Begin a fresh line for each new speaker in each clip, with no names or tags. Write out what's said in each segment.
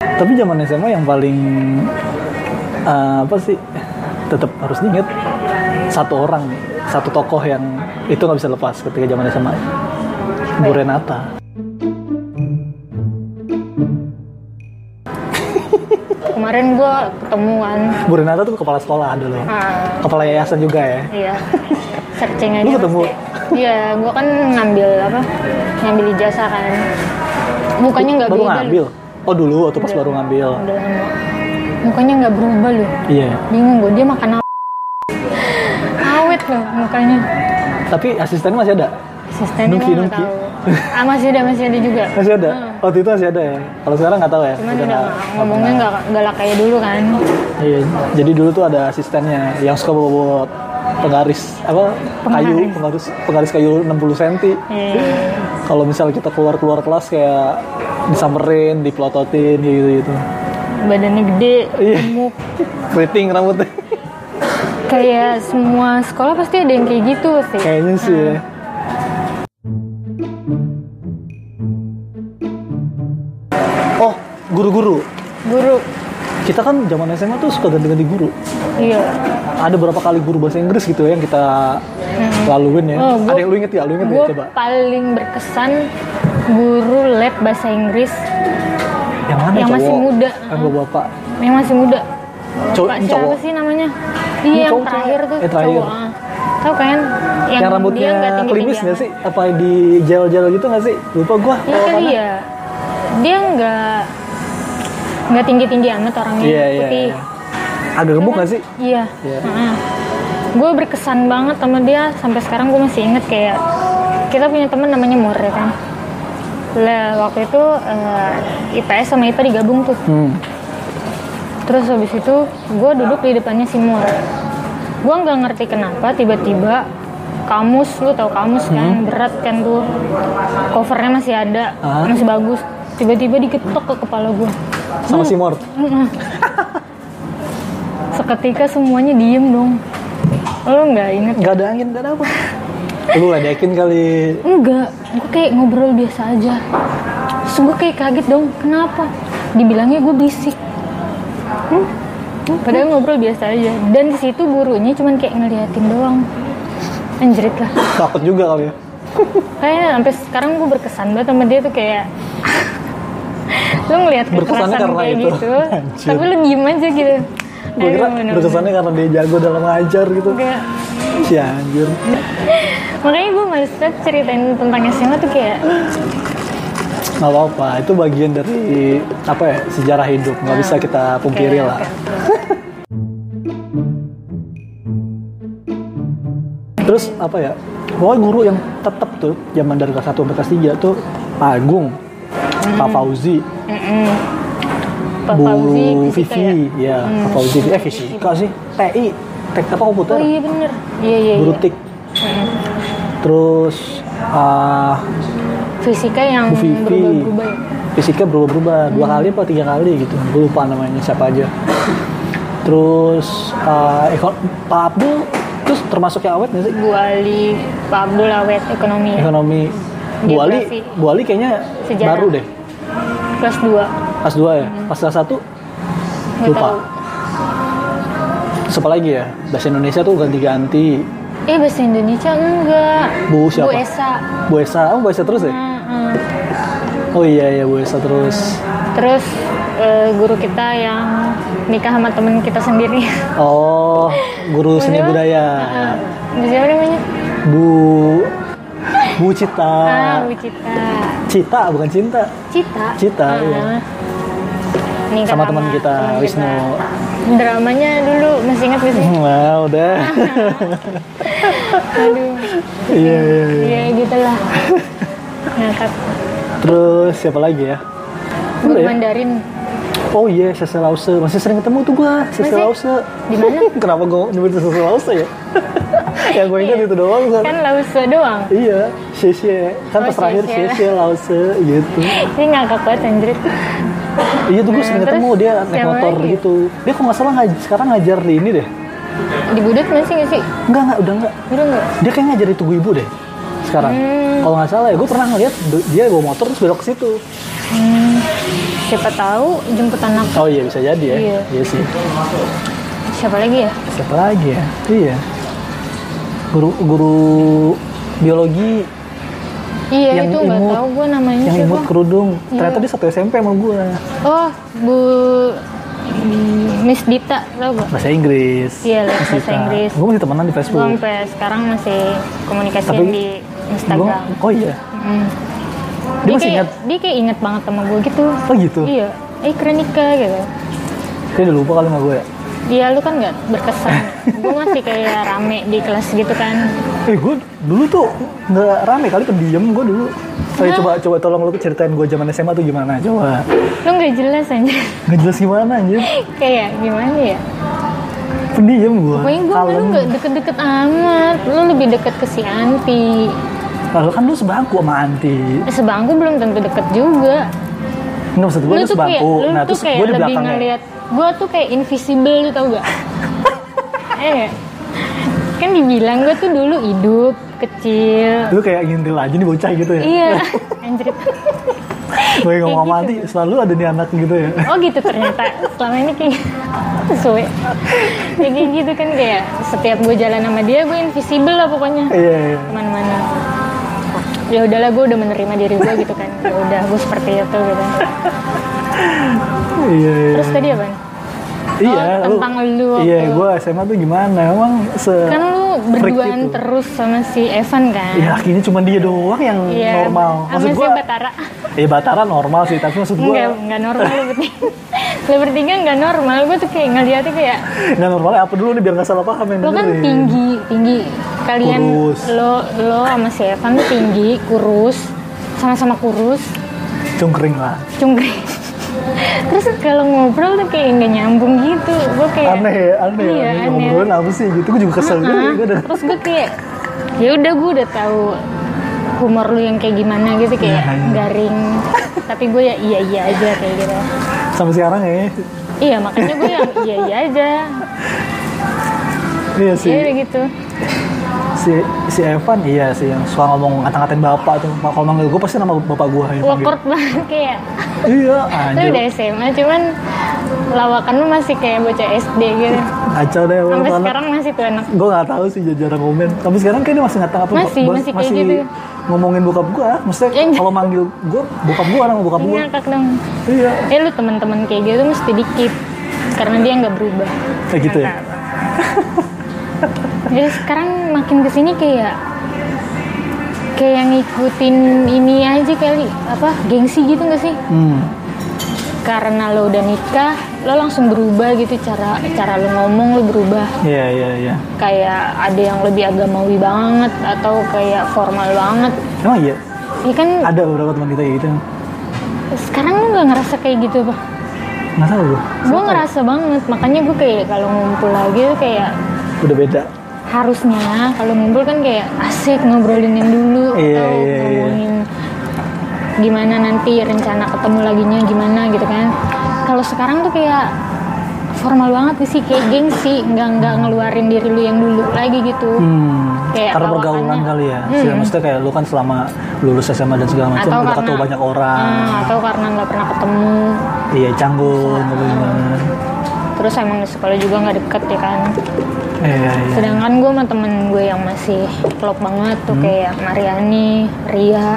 Tapi zaman SMA yang paling eh, apa sih? Tetap harus diingat satu orang, satu tokoh yang itu nggak bisa lepas ketika zaman SMA. Bu Renata.
Kemarin gua ketemuan.
Bu Renata tuh kepala sekolah dulu.
Ah,
Kepala yayasan juga ya.
iya. Searching aja.
Lu ketemu?
pasti. Iya, gua kan ngambil apa? Ngambil ijazah kan. Mukanya nggak
baru
beda.
ngambil. Oh dulu waktu pas
Udah.
baru ngambil.
loh. Udah lama. Mukanya nggak berubah loh.
Iya.
Bingung gua dia makan apa? Awet loh mukanya.
Tapi asisten masih ada.
Asistennya
Nuki,
gua nggak
Nuki.
tahu. Ah masih ada masih ada juga.
Masih ada. Waktu itu masih ada ya. Kalau sekarang nggak tahu ya.
Hmm.
Kan Udah
Cuman udah
nggak-
nggak- ngomongnya nggak galak kayak dulu kan.
Iya. Jadi dulu tuh ada asistennya yang suka bawa, -bawa penggaris apa kayu
Penggaris.
penggaris penggaris kayu 60 cm
Iya.
kalau misalnya kita keluar keluar kelas kayak disamperin dipelototin gitu gitu
Badannya gede,
Iya.
gemuk.
keriting rambutnya
Kayak semua sekolah pasti ada yang kayak gitu sih.
kayaknya sih ya. oh guru-guru
Guru,
kita kan zaman SMA tuh suka ganti-ganti guru.
iya.
Ada berapa kali guru bahasa Inggris gitu ya yang kita laluin ya.
Oh, gua-
Ada yang lu inget ya? Lu inget ya
Gue
coba?
paling berkesan guru lab bahasa Inggris
Yang mana
yang
cowok?
masih muda.
Yang bawa bapak.
yang masih muda.
Cowok-
Pak siapa
cowok.
sih namanya? Iya, yang
cowok,
terakhir
cowok.
tuh
Eh, terakhir.
cowok. ah. Tahu kan?
Yang, rambutnya klimis nggak sih? Apa di gel-gel gitu nggak sih? Lupa gua.
Iya
kalau
kali
mana.
ya. Dia nggak nggak tinggi tinggi amat orangnya
Iya, iya,
putih.
iya. Agak gemuk nggak sih?
Iya.
Iya.
Gue berkesan banget sama dia sampai sekarang gue masih inget kayak kita punya temen namanya Mur ya kan. Lah waktu itu eh, IPS sama IPA digabung tuh.
Hmm.
Terus habis itu gue duduk di depannya si Mur. Gue nggak ngerti kenapa tiba-tiba kamus lu tau kamus
Hmm.
kan berat kan tuh covernya masih ada
Ah.
masih bagus tiba-tiba diketok ke kepala gue
Sama
Hmm.
si Mor.
seketika semuanya diem dong lo nggak inget
Nggak ada angin, nggak ada apa. lu ledekin kali.
Enggak, gue kayak ngobrol biasa aja. Terus gue kayak kaget dong, kenapa? Dibilangnya gue bisik. Hmm? Hmm? Padahal ngobrol biasa aja. Dan di situ gurunya cuman kayak ngeliatin doang. Anjrit lah.
Takut juga kali ya.
Kayaknya sampai sekarang gue berkesan banget sama dia tuh kayak... lu ngeliat
Berkesannya
kekerasan
karena
kayak
itu.
gitu,
Anjir.
tapi lu diem aja gitu.
Gue
Aduh,
kira
bener-bener.
berkesannya karena dia jago dalam ngajar gitu.
Enggak.
Si anjir.
Makanya gue maksudnya ceritain tentang SMA tuh kayak...
nggak apa-apa itu bagian dari apa ya sejarah hidup
Ah,
nggak bisa kita pungkiri
kayak-
lah terus apa ya pokoknya guru yang tetap tuh zaman dari kelas 1 sampai kelas 3 tuh Pak Agung Pak
Hmm.
Fauzi
Pak
Bu
Fauzi, fisika ya?
Vivi ya, Pak Fauzi eh fisika sih TI tek apa komputer
Oh iya bener. Iya iya.
guru
iya.
tik terus ah,
Fisika yang
Bu Vivi
berubah-berubah. ya?
fisiknya berubah-berubah dua
Hmm.
kali apa tiga kali gitu gue lupa namanya siapa aja terus uh, eko- Pak Abdul terus termasuk yang awet nggak sih
Bu Ali, Pak Abdul Awet ekonomi ya?
ekonomi Bu Ali
Geografi.
Bu Ali kayaknya
Sejarah.
baru deh
kelas 2
pas dua ya pas kelas satu
nggak
lupa
tahu.
terus apa lagi ya bahasa Indonesia tuh ganti-ganti
Eh bahasa Indonesia enggak.
Bu siapa?
Bu Esa.
Bu Esa oh Bu Esa terus ya
Hmm. Heeh.
oh iya iya Bu Esa terus
Terus eh, guru kita yang nikah sama temen kita sendiri.
oh guru seni
Siapa?
budaya
Heeh. Bu siapa namanya?
Bu Bu Cita
Ah, Bu Cita.
Cita bukan cinta
Cita.
Cita,
Ah.
iya.
Nikah
Sama teman kita,
teman
Wisnu.
kita. Dramanya dulu masih ingat gak sih?
Nah, udah.
Aduh.
Iya, iya, iya.
Ya gitu lah. Ngangkat
Terus siapa lagi ya?
guru
Udah ya?
Mandarin.
Oh iya, Sese Lause. Masih sering ketemu tuh gua, Sese
Masih?
Lause.
Di mana?
Kenapa gua nyebutin Sese Lause ya? Yang gua ingat itu doang kan.
Kan lausa doang.
Iya, Sese. Kan
Oh,
pas terakhir
Sese.
Sese Lause gitu.
Ini ngakak banget anjir.
Iya tuh gua sering
Nah, terus
ketemu dia naik
siapa
motor
lagi?
gitu. Dia kok nggak salah ngaj- sekarang ngajar di ini deh.
Di Budut masih nggak sih?
Enggak, enggak, udah enggak.
Udah nggak?
Dia kayak ngajar di Tugu Ibu deh. sekarang.
Hmm.
Kalau nggak salah ya, gue pernah ngeliat du- dia bawa motor terus belok ke situ.
siapa tahu jemput anak
Oh iya bisa jadi ya.
Iya.
Iya sih.
siapa lagi ya
Siapa lagi ya? Iya. Guru guru biologi
iya
Yang
itu nggak
imut.
tahu gue namanya
yang
siapa
imut kerudung.
Iya.
Ternyata dia satu SMP sama gue.
oh bu Miss Dita tau gak
Bahasa Inggris.
Iya, les bahasa
Kita-
Inggris.
Gue masih temenan di
gue
Facebook.
sampai sekarang masih komunikasi
Tapi-
di
Gua,
Instagram
oh iya.
Mm.
Dia masih
kayak,
ingat.
dia kayak inget banget sama gue gitu
Oh gitu.
iya eh keren nikah gitu
Dia udah lupa kali sama gue ya.
dia lu kan nggak berkesan gue masih kayak rame di kelas gitu kan
Eh gue dulu tuh nggak rame kali pendiam gue dulu. Oh, iya,
Hah?
coba coba tolong lu ceritain gue zaman SMA tuh gimana? Coba.
lu nggak jelas aja
Nggak jelas gimana anjir.
kayak gimana ya
Pendiam gue.
pokoknya gue lu nggak deket-deket amat lu lebih deket ke si Anti Eh,
Padahal kan lu sebangku sama Anti.
sebangku belum tentu deket juga
Nggak maksud gue
lu
lu
tuh kayak
sebangku.
lu
Nah
tuh
terus
kayak
gue di
lebih
belakangnya.
ngeliat gue tuh kayak invisible lu tau gak eh kan dibilang gue tuh dulu hidup kecil
Lu kayak ngintil aja nih bocah gitu ya.
iya anjrit
Gue ngomong sama
gitu.
Anti selalu ada nih anak gitu ya.
oh gitu ternyata selama ini kayak sesuai ya kayak gitu kan kayak setiap gue jalan sama dia gue invisible lah pokoknya
Iya. iya.
kemana-mana ya udahlah gue udah menerima diri gue gitu kan ya udah gue seperti itu gitu
Iya. iya.
terus tadi apa
Iya,
Oh, tentang lu waktu-
Iya, gue SMA tuh gimana? Emang se
kan
freak
lu
gitu.
berduaan
itu?
terus sama si Evan kan
Ya
Iya.
akhirnya cuma dia doang yang Iya, normal.
Sama
Maksud
si
gue,
Batara.
eh Batara normal sih, tapi maksud gue
Enggak, enggak normal lu bertiga. Lu bertiga enggak normal. Gue tuh kayak ngeliatnya kayak
nggak normalnya apa dulu nih biar nggak salah paham yang
lo kan
dengerin.
tinggi, tinggi. Kalian
Iya. Kurus.
lo lo sama si Evan tuh tinggi, kurus, sama-sama kurus,
Cungkring lah.
cungkring. Terus kalau ngobrol tuh kayak nggak nyambung gitu. Gue kayak
Aneh, ya, aneh,
Iya,
aneh.
aneh.
Ngobrolan apa sih gitu? Gue juga kesel
Ah,
gitu. Gue udah
terus gue kayak ya udah gue udah tahu humor lu yang kayak gimana gitu kayak
Iya, iya.
garing tapi gue ya iya iya aja kayak gitu
sampai sekarang ya.
iya makanya gue yang iya iya aja
Iya sih,
ya udah gitu
si si Evan iya sih yang suka ngomong ngata-ngatain bapak tuh. Kalau manggil gue pasti nama bapak gue yang manggil.
awkward banget kayak
Iya,
lu
anjir.
udah SMA cuman lawakan lu masih kayak bocah SD gitu
Kacau deh. orang
sampai
tua anak.
sekarang masih tuh enak
gue nggak tahu sih jarang komen tapi sekarang kayaknya masih nggak tahu apa
Masih,
bos-
masih kayak gitu.
ngomongin bokap gue maksudnya
Iya.
kalau manggil gue bokap gue orang bokap gue
ngakak dong
iya
eh lu teman-teman kayak gitu mesti dikit karena dia nggak berubah
kayak gitu ya
ya sekarang makin kesini kayak kayak ngikutin ini aja kali apa gengsi gitu nggak sih
hmm.
karena lo udah nikah lo langsung berubah gitu cara cara lo ngomong lo berubah
iya iya iya
kayak ada yang lebih agamawi banget atau kayak formal banget
emang iya
ya kan
ada beberapa teman kita kayak gitu
sekarang lo nggak ngerasa kayak gitu apa
nggak tahu gue
gue ngerasa banget makanya gue kayak kalau ngumpul lagi tuh kayak
udah beda
harusnya kalau ngumpul kan kayak asik ngobrolin yang dulu
Iya,
atau
iya, iya.
ngomongin gimana nanti rencana ketemu laginya gimana gitu kan kalau sekarang tuh kayak formal banget sih kayak gengsi nggak nggak ngeluarin diri lu yang dulu lagi gitu
hmm.
Kayak
karena
lawakannya.
pergaulan kali ya
Hmm.
Sih, maksudnya kayak lu kan selama lulus SMA dan segala macam udah ketemu banyak orang
Hmm, atau karena nggak pernah ketemu Hmm.
iya canggung gitu gimana
terus emang di sekolah juga nggak deket ya kan
iya iya
sedangkan gue sama temen gue yang masih klop banget tuh
Hmm.
kayak Mariani, Ria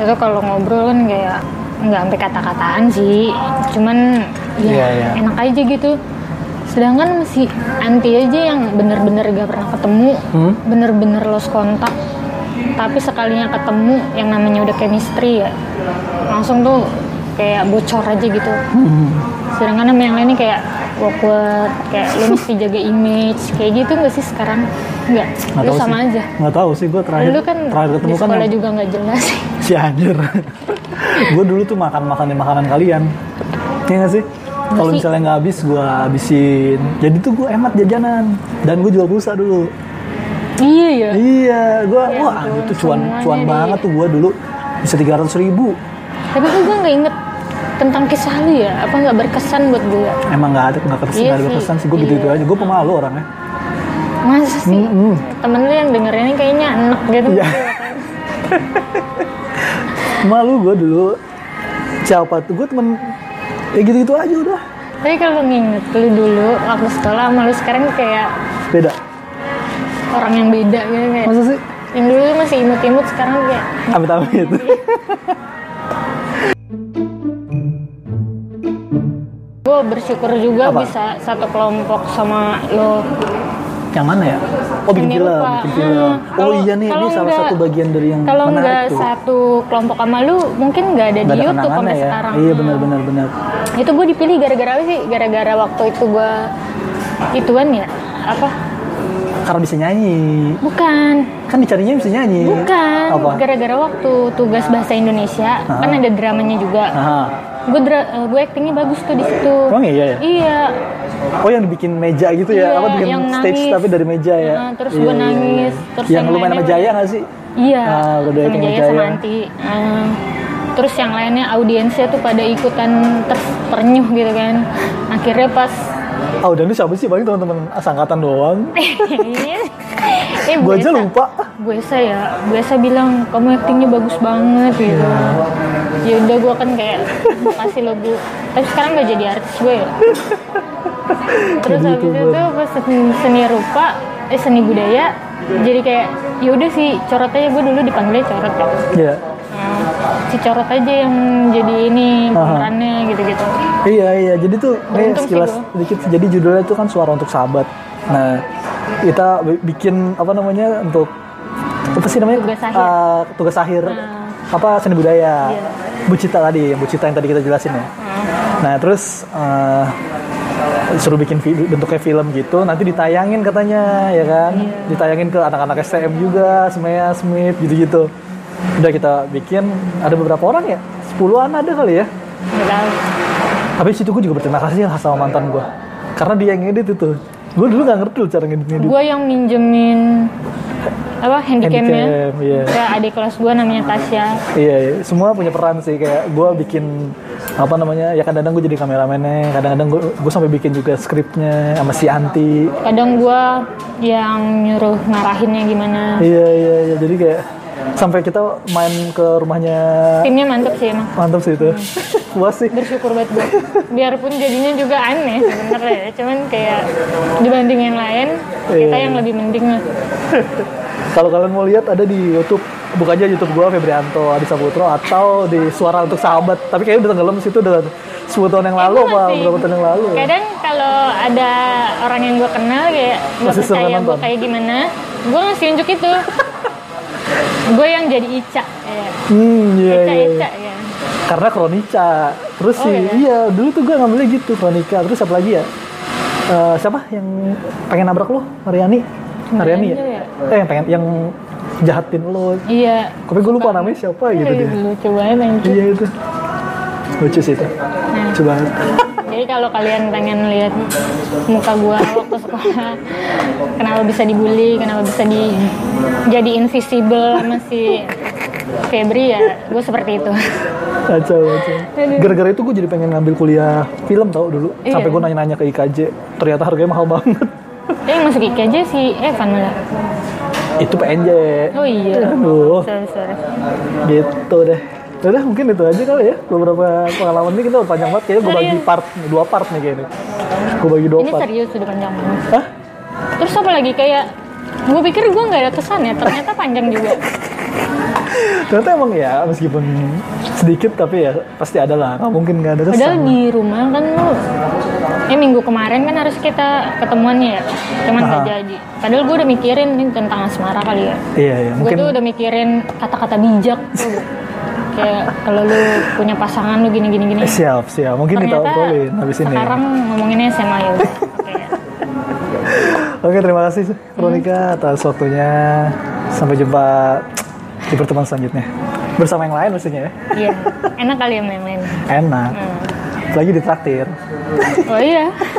itu kalau ngobrol kan kayak nggak sampai kata-kataan sih cuman ya
Iya, iya.
enak aja gitu sedangkan si anti aja yang bener-bener gak pernah ketemu
Hmm?
bener-bener lost kontak tapi sekalinya ketemu yang namanya udah chemistry ya langsung tuh kayak bocor aja gitu
Hmm.
sedangkan sama yang lainnya kayak awkward kayak lu mesti jaga image kayak gitu nggak sih sekarang nggak
Nggak
lu
tahu
sama
sih.
aja
Nggak tahu sih gue terakhir
lu kan
terakhir
di
ketemu kan
sekolah
yang-
juga nggak jelas
Si anjir. gue dulu tuh makan makanan makanan kalian. Iya gak sih? Kalau
sih.
misalnya nggak habis, gue habisin. Jadi tuh gue hemat jajanan. Dan gue jual pulsa dulu.
iya ya
Iya, gue
Ya
wah
ampun,
itu cuan
semuanya
cuan
di-
banget tuh gue dulu bisa 300 ribu.
tapi kok gue nggak inget tentang kisah lu ya apa nggak berkesan buat gue
Emang nggak ada nggak kesan
Iya
nggak ada
sih,
kesan sih gue gitu gitu
iya.
aja. Gue pemalu orangnya.
masa sih
Mm-mm.
temen lu yang dengerinnya kayaknya enak gitu
Mm, Iya.
iya.
Malu gue dulu. Siapa tuh gue temen ya gitu-gitu aja udah.
tapi kalau lu nginget lu dulu waktu sekolah sama lu sekarang kayak
Beda.
orang yang beda gitu kayak
Masa sih?
yang dulu lu masih imut-imut sekarang kayak
Amit-amit.
Iya. gue bersyukur juga
Apa?
bisa satu kelompok sama lo
yang mana ya? Oh bikin
Ini
film,
lupa.
bikin film.
Hmm,
Oh
kalau-
iya nih, ini
kalau
salah
nggak-
satu bagian dari yang
kalau nggak
menarik tuh.
satu kelompok sama lu mungkin nggak ada
Nggak
di
ada
YouTube
kenangannya
sampai
ya.
sekarang Hmm.
Iya benar-benar benar.
itu gue dipilih gara-gara apa sih gara-gara waktu itu gue ituan ya apa
Karena bisa nyanyi.
bukan
Kan dicarinya bisa nyanyi.
bukan
Apa?
gara-gara waktu tugas bahasa Indonesia
Ah.
kan ada dramanya juga
Aha.
gue dra- gue actingnya bagus tuh di situ
Emang iya ya?
iya
Oh yang bikin meja gitu ya?
Iya,
Apa bikin
yang
stage
nangis.
tapi dari meja ya? iya.
Nah, terus gua nangis, terus
yang
yang
lu main sama
lainnya-
Jaya nggak sih?
Iya,
Ah, udah
sama
Eka
Jaya
Wijaya.
sama Anti. Ah, terus yang lainnya audiensnya tuh pada ikutan ter- ternyuh gitu kan. Akhirnya pas
Ah udah lu siapa sih? Paling teman-teman sangkatan doang.
eh,
Gua aja lupa.
Gue ya, gue bilang kamu actingnya bagus banget gitu.
Iya.
Ya udah gue kan kayak makasih lo bu. Tapi sekarang gak jadi artis gue ya. Terus
Jadi
habis itu
youtuber.
pas seni, seni rupa, eh seni budaya, jadi kayak ya udah sih corot aja gue dulu dipanggilnya corot kan.
Iya.
Nah, si corot aja yang jadi ini
Aha.
pemerannya gitu-gitu
Iya iya. Jadi tuh kayak
Beruntung sih
sekilas
gua.
sedikit. Jadi judulnya tuh kan suara untuk sahabat. Nah kita bi- bikin apa namanya untuk apa sih namanya
Tugas akhir.
Ah, tugas akhir
Ah.
apa seni budaya
Iya.
Bu Cita tadi Bu Cita yang tadi kita jelasin ya
Nah,
Nah terus eh, suruh bikin vi- bentuknya film gitu, nanti ditayangin katanya ya kan,
Iya.
ditayangin ke anak-anak STM juga, Semea, Smith gitu-gitu. Udah kita bikin, ada beberapa orang ya, 10-an ada kali ya.
nggak tahu.
Tapi situ gue juga berterima kasih lah sama mantan gue, karena dia yang edit itu. Gue dulu gak ngerti loh cara ngedit-ngedit.
gue yang minjemin apa handicamnya
Handicam, iya.
ke adik kelas gue namanya Tasya
Iya, iya. semua punya peran sih kayak gue bikin apa namanya ya kadang-kadang gue jadi kameramennya, kadang-kadang gue gue sampai bikin juga skripnya sama si Anti.
kadang gue yang nyuruh ngarahinnya gimana
Iya iya iya jadi kayak sampai kita main ke rumahnya
timnya mantep sih emang
mantap sih itu puas sih
bersyukur banget gue biarpun jadinya juga aneh sebenarnya ya. cuman kayak dibanding yang lain kita
Iya.
yang lebih penting lah
kalau kalian mau lihat ada di YouTube buka aja YouTube gua Febrianto Adi Saputro atau di Suara untuk Sahabat tapi kayaknya udah tenggelam situ udah 10 tahun yang lalu
Gua
apa
masih-
berapa tahun yang lalu ya.
kadang kalau ada orang yang gue kenal kayak nggak
Masih suka
percaya gue
nonton.
kayak gimana gue ngasih unjuk itu gue yang jadi Ica ya.
hmm iya
Ica
iya
Ica ya
karena Kronica terus
Oh,
sih
iya.
iya dulu tuh gua ngambilnya gitu Kronika terus apa lagi ya Eh, siapa yang pengen nabrak lo Mariani Mariani ya?
Mariani
eh yang pengen yang jahatin lo
iya
tapi gue lupa namanya siapa gitu dia
Aduh, lucu banget anjir.
Iya itu lucu sih itu lucu banget
Jadi kalau kalian pengen lihat muka gua waktu sekolah, kenapa bisa dibully, kenapa bisa di jadi invisible sama si Febri ya, gue seperti itu.
kacau kacau gara-gara itu gue jadi pengen ngambil kuliah film tau dulu
Iya.
sampai gue nanya-nanya ke IKJ ternyata harganya mahal banget
Tapi yang Eh, masuk IKJ aja si Evan malah.
itu PNJ
Oh iya.
aduh
Sorry, sorry.
gitu deh udah mungkin itu aja kali ya beberapa pengalaman ini kita udah panjang banget kayaknya gue bagi
Serius.
part dua part nih kayaknya gue bagi dua
ya. Ini
part
serius sudah panjang banget.
Hah?
Terus apa lagi kayak gue pikir gue nggak ada kesan ya, ternyata panjang juga.
ternyata emang ya meskipun sedikit tapi ya pasti ada lah nggak mungkin nggak ada
Padahal
kesan
di rumah kan lu Eh minggu kemarin kan harus kita ketemuannya ya Cuman
Ah.
gak jadi Padahal gue udah mikirin nih tentang asmara kali ya
iya iya
Gue
mungkin
tuh udah mikirin kata-kata bijak tuh Kayak kalau lu punya pasangan lu gini-gini gini
siap siap mungkin kita
Ternyata
obrolin habis ini
sekarang ngomonginnya SMA ya udah. Kayak,
Oke, terima kasih Veronica atas waktunya. Sampai jumpa di pertemuan selanjutnya. Bersama yang lain pastinya ya.
Iya Enak kali ya main-main
Enak. Lagi ditraktir.
Oh iya